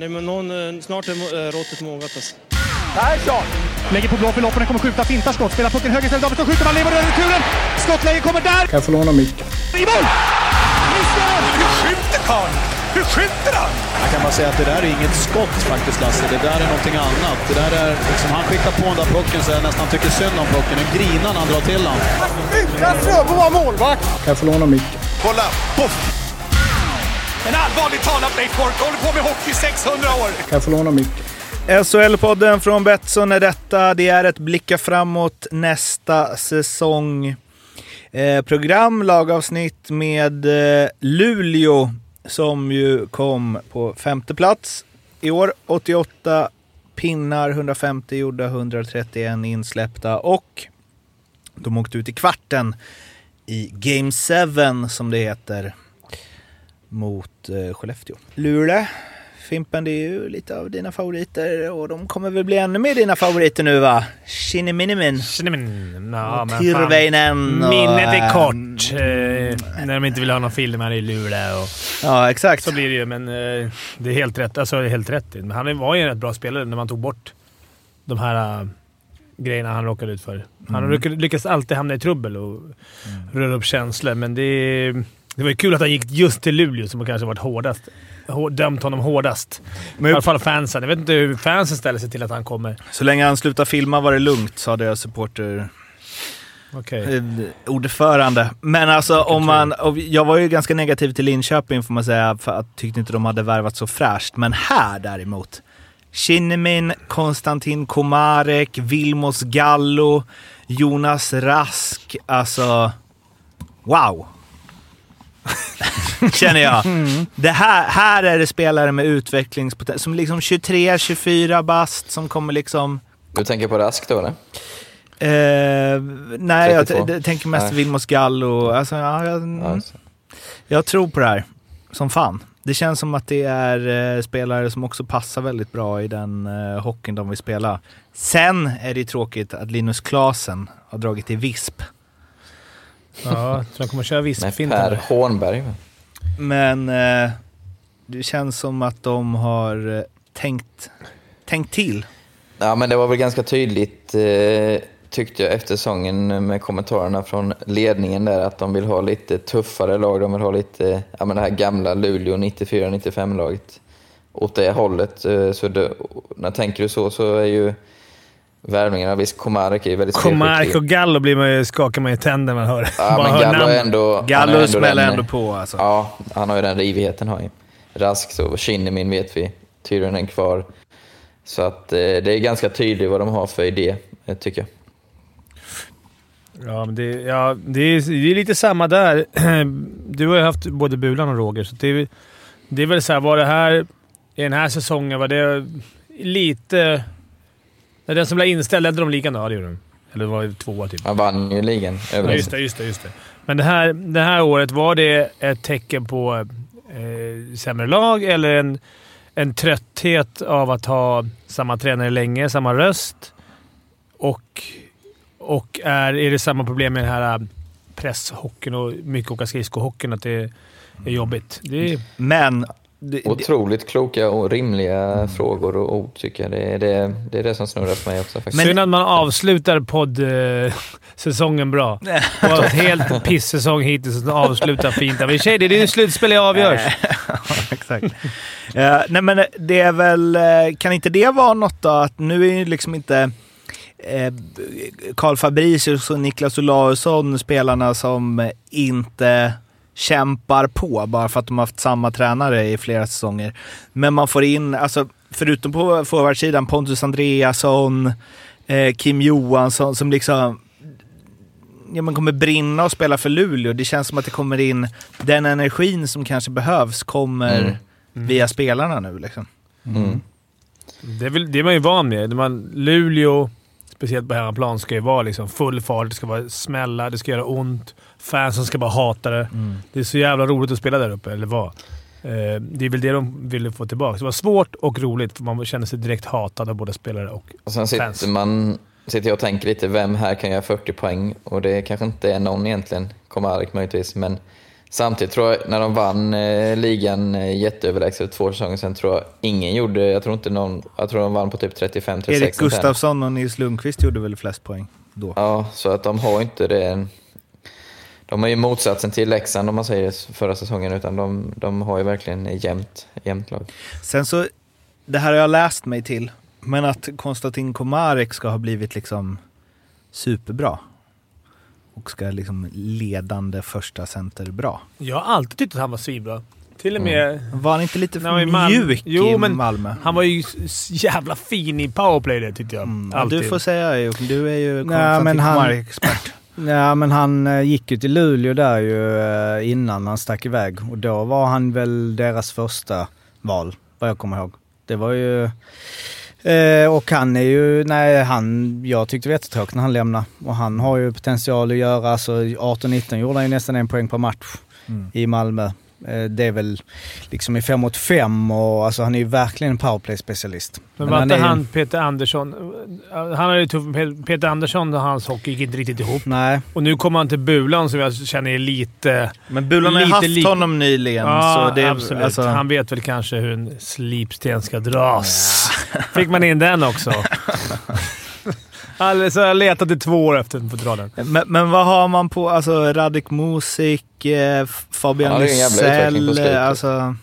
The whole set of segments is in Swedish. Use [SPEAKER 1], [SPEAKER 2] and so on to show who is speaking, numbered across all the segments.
[SPEAKER 1] Nej, men någon, eh, snart är må- eh, råttet mogat alltså.
[SPEAKER 2] Persson!
[SPEAKER 3] Lägger på blå för loppen, kommer skjuta, fintar skott, spelar pucken höger istället, Davidsson skjuter, man lever över returen! Skottläge kommer där!
[SPEAKER 4] Kan jag få låna micken?
[SPEAKER 3] I mål! Missar!
[SPEAKER 2] Hur skjuter karln? Hur skjuter han?
[SPEAKER 5] Jag kan bara säga att det där är inget skott faktiskt, Lasse. Det där är någonting annat. Det där är, liksom, han skickar på den där pucken så jag nästan tycker synd om pucken. Den grinar när han drar till den.
[SPEAKER 2] Utan Fröbo var målvakt.
[SPEAKER 4] Kan jag få låna micken?
[SPEAKER 2] Kolla! Poff! En allvarligt talat Leif Boork håller på med hockey i 600 år.
[SPEAKER 4] Kan jag få låna micken?
[SPEAKER 6] SHL-podden från Betsson är detta. Det är ett blicka framåt nästa säsong. Eh, program, lagavsnitt med eh, Luleå som ju kom på femte plats i år. 88 pinnar, 150 gjorda, 131 insläppta och de åkte ut i kvarten i Game 7 som det heter mot eh, Skellefteå. Luleå Fimpen, det är ju lite av dina favoriter och de kommer väl bli ännu mer dina favoriter nu va? Shinniminimin.
[SPEAKER 7] Schneemann. Ja, men fan.
[SPEAKER 6] Tyrväinen och...
[SPEAKER 7] Minnet är
[SPEAKER 6] eh,
[SPEAKER 7] kort.
[SPEAKER 6] Mm.
[SPEAKER 7] Eh, när de inte vill ha några filmer i Luleå. Och
[SPEAKER 6] Ja, exakt.
[SPEAKER 7] så blir det ju, men eh, det är helt rätt. Alltså, det är helt rätt. Men han var ju en rätt bra spelare när man tog bort de här eh, grejerna han råkade ut för. Han
[SPEAKER 6] Mm.
[SPEAKER 7] lyck- lyckas alltid hamna i trubbel och röra upp känslor, men det, det var ju kul att han gick just till Luleå som kanske varit hårdast. Hår, dömt honom hårdast.
[SPEAKER 6] Men-
[SPEAKER 7] I alla fall fansen. Jag vet inte hur fansen ställer sig till att han kommer.
[SPEAKER 6] Så länge han slutar filma var det lugnt, sa deras supporter.
[SPEAKER 7] Okej.
[SPEAKER 6] eh, ordförande. Men alltså om man... Och jag var ju ganska negativ till Linköping får man säga, för att tyckte inte de hade värvat så fräscht. Men här däremot. Shinnimin, Konstantin Komarek, Vilmos Gallo, Jonas Rask. Alltså... Wow! Känner jag. Det här, här är det spelare med utvecklingspotential. Som liksom 23-24 bast, som kommer liksom...
[SPEAKER 8] Du tänker på Rask då eller?
[SPEAKER 6] Eh, nej, jag t-
[SPEAKER 8] 32.
[SPEAKER 6] d- tänker mest
[SPEAKER 8] Nej.
[SPEAKER 6] Vilmos Gallo. Alltså, ja, jag, mm,
[SPEAKER 8] Alltså.
[SPEAKER 6] jag tror på det här som fan. Det känns som att det är eh, spelare som också passar väldigt bra i den eh, hockeyn de vill spela. Sen är det ju tråkigt att Linus Klasen har dragit till visp.
[SPEAKER 7] Ja, så de kommer köra
[SPEAKER 8] Nej,
[SPEAKER 7] vispfinten.
[SPEAKER 8] Per
[SPEAKER 7] nu.
[SPEAKER 8] Hornberg.
[SPEAKER 6] Men eh, det känns som att de har eh, tänkt, tänkt till.
[SPEAKER 8] Ja, men det var väl ganska tydligt eh, tyckte jag efter säsongen med kommentarerna från ledningen där att de vill ha lite tuffare lag. De vill ha lite, ja men det här gamla Luleå 94-95 laget åt det hållet. Eh, så det, när tänker du så så är ju värvningarna, visst Komarek Alltså, är ju väldigt
[SPEAKER 7] Komark
[SPEAKER 8] spelskicklig.
[SPEAKER 7] och Gallo blir man ju, skakar man ju tänder när man hör.
[SPEAKER 8] Ja,
[SPEAKER 7] bara
[SPEAKER 8] men
[SPEAKER 7] hör
[SPEAKER 8] Gallo
[SPEAKER 7] namn.
[SPEAKER 8] är ändå... han är
[SPEAKER 6] Gallo smäller
[SPEAKER 8] den-
[SPEAKER 6] ändå på alltså.
[SPEAKER 8] Ja, han har ju den rivigheten har ju. Rask så Kinnimin vet vi. Tyronen kvar. Så att eh, det är ganska tydligt vad de har för idé, eh, tycker jag.
[SPEAKER 7] Ja, men det, ja, det, är, det är lite samma där. Du har ju haft både Bulan och Roger, så det, är- det är väl så här, var det här i den här säsongen, var det lite... När den som blev inställd, ledde de ligan då? Ja, det gjorde de. Eller var det tvåa typ?
[SPEAKER 8] Han vann ju ligan.
[SPEAKER 7] Ja,
[SPEAKER 8] över
[SPEAKER 7] just det, just det, just det. Men det här, det här året, var det ett tecken på eh, sämre lag eller en, en trötthet av att ha samma tränare länge, samma röst? Och, och är, är det samma problem med den här eh, presshockeyn och mycket åka skridskohockeyn, att det är jobbigt? Det är,
[SPEAKER 6] Men... Det, det,
[SPEAKER 8] Otroligt kloka och rimliga frågor och ord, tycker jag. Det är det, det, är det som snurrar för mig också faktiskt.
[SPEAKER 7] synd att man avslutar poddsäsongen bra. Och har haft helt pissäsong hittills och så avslutar fint. Men i och för sig, det är ju slutspel det avgörs.
[SPEAKER 6] Exakt. Eh, nej men det är väl, eh, kan inte det vara något då att nu är ju liksom inte eh, Karl Fabricius och Niklas Olausson spelarna som inte kämpar på bara för att de har haft samma tränare i flera säsonger. Men man får in, alltså förutom på forwardsidan, Pontus Andreasson, eh, Kim Johansson som liksom ja, men kommer brinna och spela för Luleå. Det känns som att det kommer in, den energin som kanske behövs kommer
[SPEAKER 8] Mm.
[SPEAKER 6] via spelarna nu. Liksom.
[SPEAKER 8] Mm.
[SPEAKER 7] Det är, väl, det är man ju van med. När Man, Luleå, speciellt på hemmaplan, ska ju vara liksom full fart. Det ska vara smälla, det ska göra ont. Fansen ska bara hata det. Det är så jävla roligt att spela där uppe, eller vad? Eh, det är väl det de ville få tillbaka. Det var svårt och roligt, för man kände sig direkt hatad av båda spelare och
[SPEAKER 8] Och sen
[SPEAKER 7] Fans.
[SPEAKER 8] sitter, man, sitter jag och tänker lite, vem här kan göra 40 poäng? Och det kanske inte är någon egentligen, Komarek möjligtvis, men Samtidigt tror jag, när de vann eh, ligan eh, jätteöverlägset för två säsonger sedan, tror jag ingen gjorde, jag tror inte någon, jag tror de vann på typ 35-36.
[SPEAKER 5] Erik
[SPEAKER 8] sen.
[SPEAKER 5] Gustafsson och Nils Lundqvist gjorde väl flest poäng då?
[SPEAKER 8] Ja, så att de har inte det. De har ju motsatsen till Leksand om man säger det förra säsongen, utan de, de har ju verkligen jämnt, jämnt lag.
[SPEAKER 5] Sen så, det här har jag läst mig till, men att Konstantin Komarek ska ha blivit liksom superbra. Och ska liksom ledande första center bra.
[SPEAKER 7] Jag har alltid tyckt att han var svinbra. Till och med...
[SPEAKER 6] Mm.
[SPEAKER 5] Var han inte lite
[SPEAKER 7] När han var i
[SPEAKER 5] för
[SPEAKER 7] Malmö-
[SPEAKER 5] mjuk
[SPEAKER 7] Jo,
[SPEAKER 5] i
[SPEAKER 7] men
[SPEAKER 5] Malmö?
[SPEAKER 7] Han var ju s- jävla fin i powerplay det tyckte jag.
[SPEAKER 5] Mm. Ja,
[SPEAKER 7] Alltid.
[SPEAKER 5] Du får säga Jocke, du är ju Konstantin
[SPEAKER 6] men han-
[SPEAKER 5] Komarek-expert.
[SPEAKER 6] Ja, men han eh, gick ju till Luleå där ju eh, innan han stack iväg och då var han väl deras första val, vad jag kommer ihåg. Det var ju... Eh, och han är ju, nej han, jag tyckte det var jättetråkigt när han lämnade. Och han har ju potential att göra, alltså 18-19 gjorde han ju nästan en poäng per match
[SPEAKER 5] Mm.
[SPEAKER 6] i Malmö. Eh, det är väl liksom i fem mot fem och alltså han är ju verkligen en powerplay-specialist.
[SPEAKER 7] Men var inte
[SPEAKER 6] är ju-
[SPEAKER 7] han Peter Andersson? Han har ju tufft med Peter Andersson och hans hockey gick inte riktigt ihop.
[SPEAKER 6] Nej,
[SPEAKER 7] Och nu kommer han till Bulan som jag känner är lite...
[SPEAKER 5] Men Bulan har ju
[SPEAKER 7] Lite
[SPEAKER 5] haft
[SPEAKER 7] lik-
[SPEAKER 5] honom nyligen.
[SPEAKER 7] Ja,
[SPEAKER 5] så det, är-
[SPEAKER 7] absolut.
[SPEAKER 5] alltså-
[SPEAKER 7] Han vet väl kanske hur en slipsten ska dras. Fick man in den också? alltså, jag letade i två år efter att få dra den.
[SPEAKER 5] Men, men vad har man på, alltså Radek Musik, eh, F-
[SPEAKER 8] Han
[SPEAKER 5] Fabian
[SPEAKER 8] hade ju en jävla utveckling på
[SPEAKER 5] Lysell,
[SPEAKER 8] slutet.
[SPEAKER 5] eh, alltså.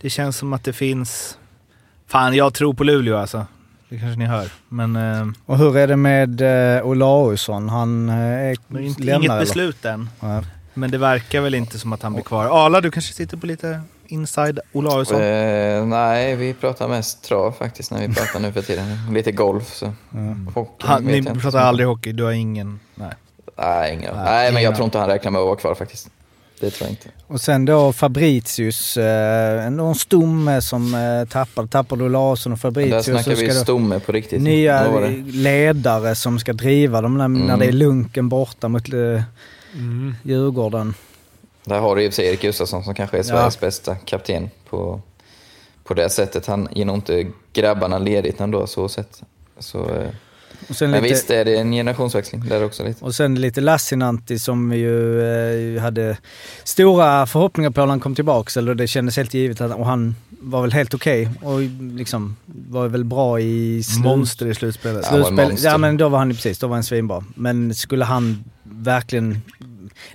[SPEAKER 5] Det känns som att det finns... Fan, jag tror på Luleå alltså. Det kanske ni hör. Men, eh,
[SPEAKER 6] och hur är det med eh, Olausson? Han eh, är,
[SPEAKER 5] men inte,
[SPEAKER 6] lämnar
[SPEAKER 5] inget
[SPEAKER 6] eller?
[SPEAKER 5] beslut än.
[SPEAKER 6] Nej.
[SPEAKER 5] Men det verkar väl inte som att han blir kvar. Arla, du kanske sitter på lite inside Olausson?
[SPEAKER 8] Eh, nej, vi pratar mest trav faktiskt när vi pratar nu för tiden. Lite golf så.
[SPEAKER 6] Mm.
[SPEAKER 8] Hockey
[SPEAKER 5] Han,
[SPEAKER 8] vet
[SPEAKER 5] ni
[SPEAKER 8] jag inte.
[SPEAKER 5] pratar aldrig hockey, du har ingen... Nej.
[SPEAKER 8] Nej, ingen.
[SPEAKER 6] Nej,
[SPEAKER 8] Nej, men
[SPEAKER 6] ingen.
[SPEAKER 8] jag tror inte han räknar med att vara kvar faktiskt. Det tror jag inte.
[SPEAKER 6] Och sen då Fabricius, eh, en- någon stomme som eh, tappar, tappar du Larsson och
[SPEAKER 8] Men där
[SPEAKER 6] Fabricius.
[SPEAKER 8] snackar
[SPEAKER 6] så
[SPEAKER 8] vi
[SPEAKER 6] ska då
[SPEAKER 8] stomme på riktigt. Vad var
[SPEAKER 6] nya
[SPEAKER 8] det? Mm.
[SPEAKER 6] ledare som ska driva dem när, när det är lunken borta mot eh,
[SPEAKER 7] Mm.
[SPEAKER 6] Djurgården.
[SPEAKER 8] Där har du i och för sig Erik Gustafsson som kanske är Sveriges bästa kapten på, på det sättet. Han ger nog inte grabbarna ledigt ändå så sett. Så, eh,
[SPEAKER 6] Och sen,
[SPEAKER 8] men visst
[SPEAKER 6] lite,
[SPEAKER 8] är det en generationsväxling där också lite.
[SPEAKER 6] och sen lite Lassinantti som vi ju eh, hade stora förhoppningar på när han kom tillbaks. Eller det kändes helt givet att, och han var väl helt okej och liksom var väl bra i slut,
[SPEAKER 5] Monster i slutspelet.
[SPEAKER 8] Ja. han var en
[SPEAKER 6] Slutspel,
[SPEAKER 8] monster.
[SPEAKER 6] ja men då var han precis, då var han svinbra. Men skulle han verkligen...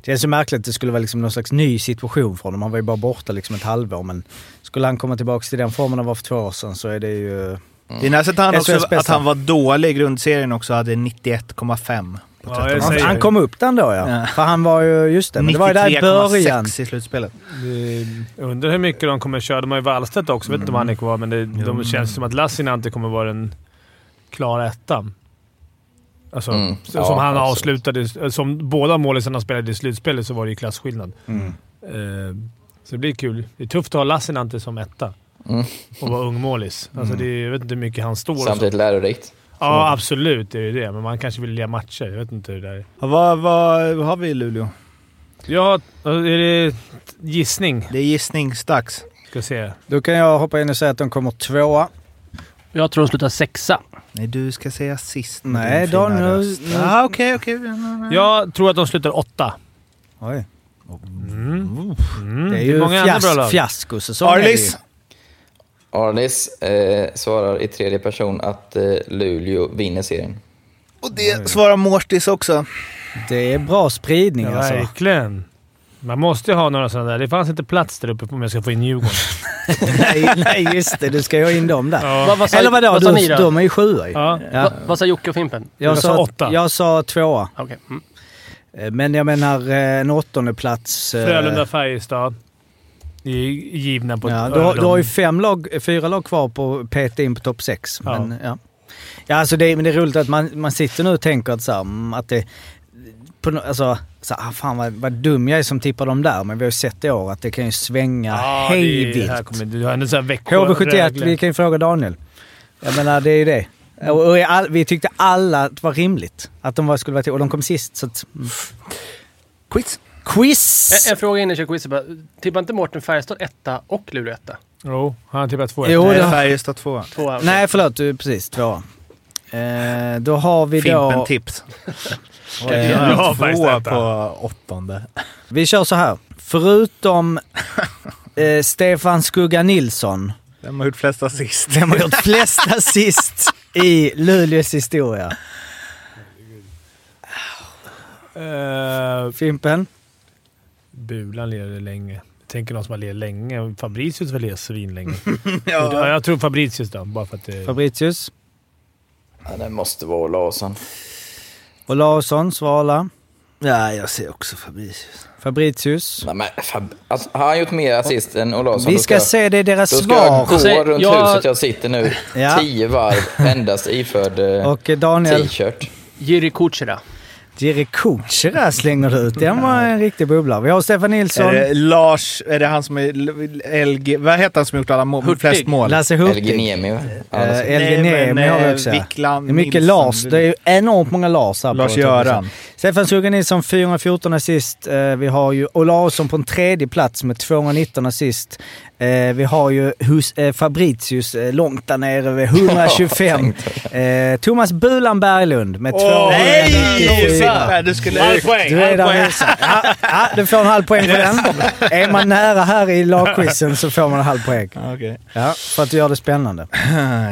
[SPEAKER 6] Det är så märkligt att det skulle vara liksom någon slags ny situation för honom. Han var ju bara borta liksom ett halvår men skulle han komma tillbaka till den formen han var för två år sedan så är det ju...
[SPEAKER 5] Det är nästan att han,
[SPEAKER 6] SHLs
[SPEAKER 5] också, att
[SPEAKER 6] bästa.
[SPEAKER 5] han var dålig i grundserien också, hade 91,5.
[SPEAKER 7] Ja, jag
[SPEAKER 6] Han,
[SPEAKER 7] säger
[SPEAKER 6] han
[SPEAKER 7] det.
[SPEAKER 6] kom upp den då ja.
[SPEAKER 5] Ja.
[SPEAKER 6] För han var ju, just det, men det var ju där i början.
[SPEAKER 5] 93,6 i slutspelet.
[SPEAKER 7] Eh, Jag undrar hur mycket de kommer köra. De har ju Wallstedt också. vet inte om han
[SPEAKER 8] Mm.
[SPEAKER 7] är kvar, men det, de känns som att Lassinantti kommer vara den klara ettan. Alltså,
[SPEAKER 8] Mm,
[SPEAKER 7] så-
[SPEAKER 8] ja,
[SPEAKER 7] som han
[SPEAKER 8] absolut.
[SPEAKER 7] avslutade. Som båda målisarna spelade i slutspelet så var det ju klasskillnad.
[SPEAKER 8] Mm.
[SPEAKER 7] Eh, så det blir kul. Det är tufft att ha Lassinantti som etta
[SPEAKER 8] Mm.
[SPEAKER 7] och vara ung målis. Alltså, det är, jag vet inte hur mycket han står. och så.
[SPEAKER 8] Samtidigt lärorikt.
[SPEAKER 7] Ja, absolut. Det är ju det. Men man kanske vill lira matcher. Jag vet inte hur det där är.
[SPEAKER 5] Ja, vad, vad, vad har vi i Luleå?
[SPEAKER 7] Ja, är det gissning?
[SPEAKER 5] Det är gissningsdags.
[SPEAKER 7] Ska se.
[SPEAKER 6] Då kan jag hoppa in och säga att de kommer tvåa.
[SPEAKER 1] Jag tror de slutar sexa.
[SPEAKER 5] Nej, du ska säga sist. med
[SPEAKER 6] Nej,
[SPEAKER 5] din fina
[SPEAKER 6] då nu-
[SPEAKER 5] röst.
[SPEAKER 6] nu-
[SPEAKER 9] Mm.
[SPEAKER 5] Ja, okej, okej. Ja, ja, ja.
[SPEAKER 7] Jag tror att de slutar åtta.
[SPEAKER 6] Oj.
[SPEAKER 7] Mm.
[SPEAKER 6] Det är
[SPEAKER 7] Det är
[SPEAKER 6] ju
[SPEAKER 7] många andra bra
[SPEAKER 6] fias-
[SPEAKER 7] lag.
[SPEAKER 6] fiaskosäsong. är det ju.
[SPEAKER 5] Arlis!
[SPEAKER 8] Arlis eh, svarar i tredje person att eh, Luleå vinner serien.
[SPEAKER 5] Och det svarar Mårtis också.
[SPEAKER 6] Det är bra spridning alltså.
[SPEAKER 7] verkligen. Man måste ju ha några sådana där. Det fanns inte plats där uppe om jag ska få in Djurgården.
[SPEAKER 6] nej, nej, just det. Du ska ju ha in dem där.
[SPEAKER 1] Vad, vad sa,
[SPEAKER 6] Eller vadå?
[SPEAKER 1] vad sa ni
[SPEAKER 6] Du,
[SPEAKER 1] då?
[SPEAKER 6] de är ju sjua ju.
[SPEAKER 7] Ja.
[SPEAKER 6] Ja.
[SPEAKER 1] Va, vad sa Jocke och Fimpen?
[SPEAKER 7] Jag sa åtta.
[SPEAKER 6] Jag sa tvåa.
[SPEAKER 1] Okej. Mm.
[SPEAKER 6] Eh, Men jag menar eh, en åttonde plats. eh,
[SPEAKER 7] Frölunda-Färjestad. Det är ju givna på
[SPEAKER 6] Ja,
[SPEAKER 7] ett
[SPEAKER 6] du, har,
[SPEAKER 7] öron.
[SPEAKER 6] du har ju fem lag, fyra lag kvar på att peta in på topp sex.
[SPEAKER 7] Ja.
[SPEAKER 6] Men, ja. Ja, alltså det, men det är roligt att man, man sitter nu och tänker att, så här, mm, att det... På, nå- alltså, så, här, ah, fan vad, vad dum jag är som tippar dem där, men vi har ju sett i år att det kan ju svänga
[SPEAKER 7] Ja, det är-
[SPEAKER 6] hej
[SPEAKER 7] här
[SPEAKER 6] vilt.
[SPEAKER 7] kommer- Du har ändå såhär Växjö...
[SPEAKER 6] HV71,
[SPEAKER 7] Rögle.
[SPEAKER 6] vi kan ju fråga Daniel. Jag menar, det är ju det.
[SPEAKER 7] Mm.
[SPEAKER 6] Och, och i all, vi tyckte alla att det var rimligt att de var, skulle vara till, och de kom sist. Så att, mm.
[SPEAKER 5] Quiz.
[SPEAKER 6] Quiz!
[SPEAKER 7] Eh,
[SPEAKER 1] En, en fråga innan jag kör quizet bara. Tippar inte Mårten Färjestad etta och Luleå etta?
[SPEAKER 7] Jo, han har tippat två.
[SPEAKER 6] Jo,
[SPEAKER 5] Och
[SPEAKER 6] det har-
[SPEAKER 5] Färjestad tvåa.
[SPEAKER 1] Tvåa. okej.
[SPEAKER 6] Nej, förlåt. Du, precis. Tvåa. Eh, då har vi
[SPEAKER 5] Fimpen
[SPEAKER 6] då...
[SPEAKER 5] tips.
[SPEAKER 6] Eh,
[SPEAKER 5] Jag har
[SPEAKER 7] faktiskt
[SPEAKER 5] tvåa
[SPEAKER 7] detta.
[SPEAKER 5] på åttonde.
[SPEAKER 6] vi kör så här. Förutom eh, Stefan Skugga Nilsson,
[SPEAKER 5] Vem har gjort flest assist?
[SPEAKER 6] vem har gjort flest assist i Luleås historia?
[SPEAKER 7] Eh,
[SPEAKER 6] Fimpen?
[SPEAKER 7] Bulan leder länge. Tänker någon som har levt länge. Fabricius har väl levt svinlänge. ja. Jag tror Fabricius då, bara för att det...
[SPEAKER 6] Fabricius?
[SPEAKER 8] Ja, det måste vara Larsson.
[SPEAKER 6] Olausson? Svala?
[SPEAKER 5] Nej, jag ser också Fabricius.
[SPEAKER 6] Fabricius?
[SPEAKER 8] Nej, men, fab- alltså, har han gjort mer assist än Olausson?
[SPEAKER 6] Vi
[SPEAKER 8] då
[SPEAKER 6] ska se det i deras
[SPEAKER 8] Då ska jag
[SPEAKER 6] svar.
[SPEAKER 8] gå
[SPEAKER 1] säger-
[SPEAKER 8] runt
[SPEAKER 1] jag-
[SPEAKER 8] huset jag sitter nu,
[SPEAKER 6] Ja.
[SPEAKER 8] tio varv, endast iförd eh,
[SPEAKER 6] Och eh, Daniel
[SPEAKER 5] Typ.
[SPEAKER 8] t-shirt.
[SPEAKER 1] Jiri Kuchera.
[SPEAKER 6] Jiri Kuchera slänger du ut. Den var en riktig bubbla. Vi har Stefan
[SPEAKER 5] Är
[SPEAKER 6] Nilsson,
[SPEAKER 5] det Lars, är det han som är L- LG, vad heter han som gjort alla mål,
[SPEAKER 1] Hurtig.
[SPEAKER 5] flest mål?
[SPEAKER 6] Lasse
[SPEAKER 8] Eller
[SPEAKER 6] Hurtig,
[SPEAKER 8] Niemi, va? Ja, det
[SPEAKER 6] eh,
[SPEAKER 8] ser-
[SPEAKER 6] Elge
[SPEAKER 5] Nej, men,
[SPEAKER 6] Niemi har vi
[SPEAKER 5] eh,
[SPEAKER 6] också.
[SPEAKER 5] Wickland,
[SPEAKER 6] Det är mycket
[SPEAKER 5] Nilsson.
[SPEAKER 6] Lars. Det är ju enormt många Lars här. på toppen.
[SPEAKER 5] Lars-Göran.
[SPEAKER 6] Stefan Skugga Nilsson 414 assist. Eh, Vi har ju Olausson på en tredje plats med 219 assist. Eh, Vi har ju Hus- eh, Fabricius eh, långt där nere vid 125. Eh, Thomas Bulan Berglund med 294.
[SPEAKER 5] Nej, du skulle...
[SPEAKER 6] Du är där hyfsat. ja, ja, Du får en halv poäng för den. Är man nära här i lagquizen så får man en halv poäng.
[SPEAKER 5] Okej.
[SPEAKER 6] Ja, för att du gör det spännande.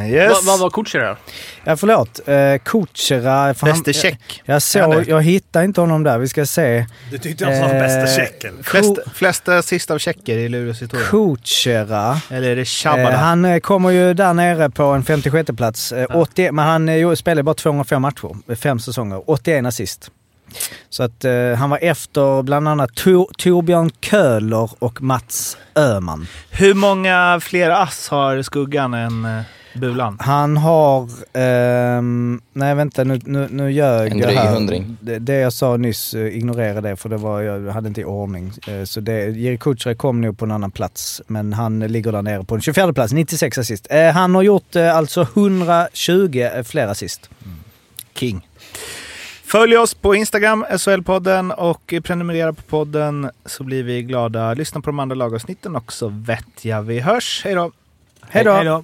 [SPEAKER 5] Yes.
[SPEAKER 1] Vad vad var Kuchera?
[SPEAKER 6] Ja, förlåt. Eh, Kuchera... för han-
[SPEAKER 5] Bäste check.
[SPEAKER 6] Jag
[SPEAKER 5] Ja,
[SPEAKER 6] såg...
[SPEAKER 5] det.
[SPEAKER 6] Jag hittade inte honom där. Vi ska se.
[SPEAKER 9] Du tyckte han var bästa
[SPEAKER 6] Eh,
[SPEAKER 9] checken.
[SPEAKER 6] Ko-
[SPEAKER 5] Flest, flest assist av checker i Luleås historia.
[SPEAKER 6] Kuchera.
[SPEAKER 5] Eller är det
[SPEAKER 6] Eh,
[SPEAKER 5] Shabala?
[SPEAKER 6] han eh, kommer ju där nere på en 56 plats. Eh, 80, men han eh, jo, spelade bara 205 matcher, eh, fem säsonger. 81 assist. Så att eh, han var efter bland annat Tor, Torbjörn Köhler och Mats Öhman.
[SPEAKER 5] Hur många fler ass har Skuggan än eh, Bulan?
[SPEAKER 6] Han har... ehm, nej, vänta. Nu, nu, nu ljög
[SPEAKER 8] En
[SPEAKER 6] jag
[SPEAKER 8] dryg
[SPEAKER 6] här.
[SPEAKER 8] hundring.
[SPEAKER 6] Det, det jag sa nyss, eh, ignorera det för det var, jag hade inte i ordning. Eh, så det, Jiri Kutjere kom nog på en annan plats, men han eh, ligger där nere på en 24 plats, 96 assist. Eh, han har gjort eh, alltså 120 fler assist. King.
[SPEAKER 5] Följ oss på Instagram, SHL-podden, och prenumerera på podden så blir vi glada. Lyssna på de andra lagavsnitten också, vet jag. Vi hörs. Hej då!
[SPEAKER 6] Hej då!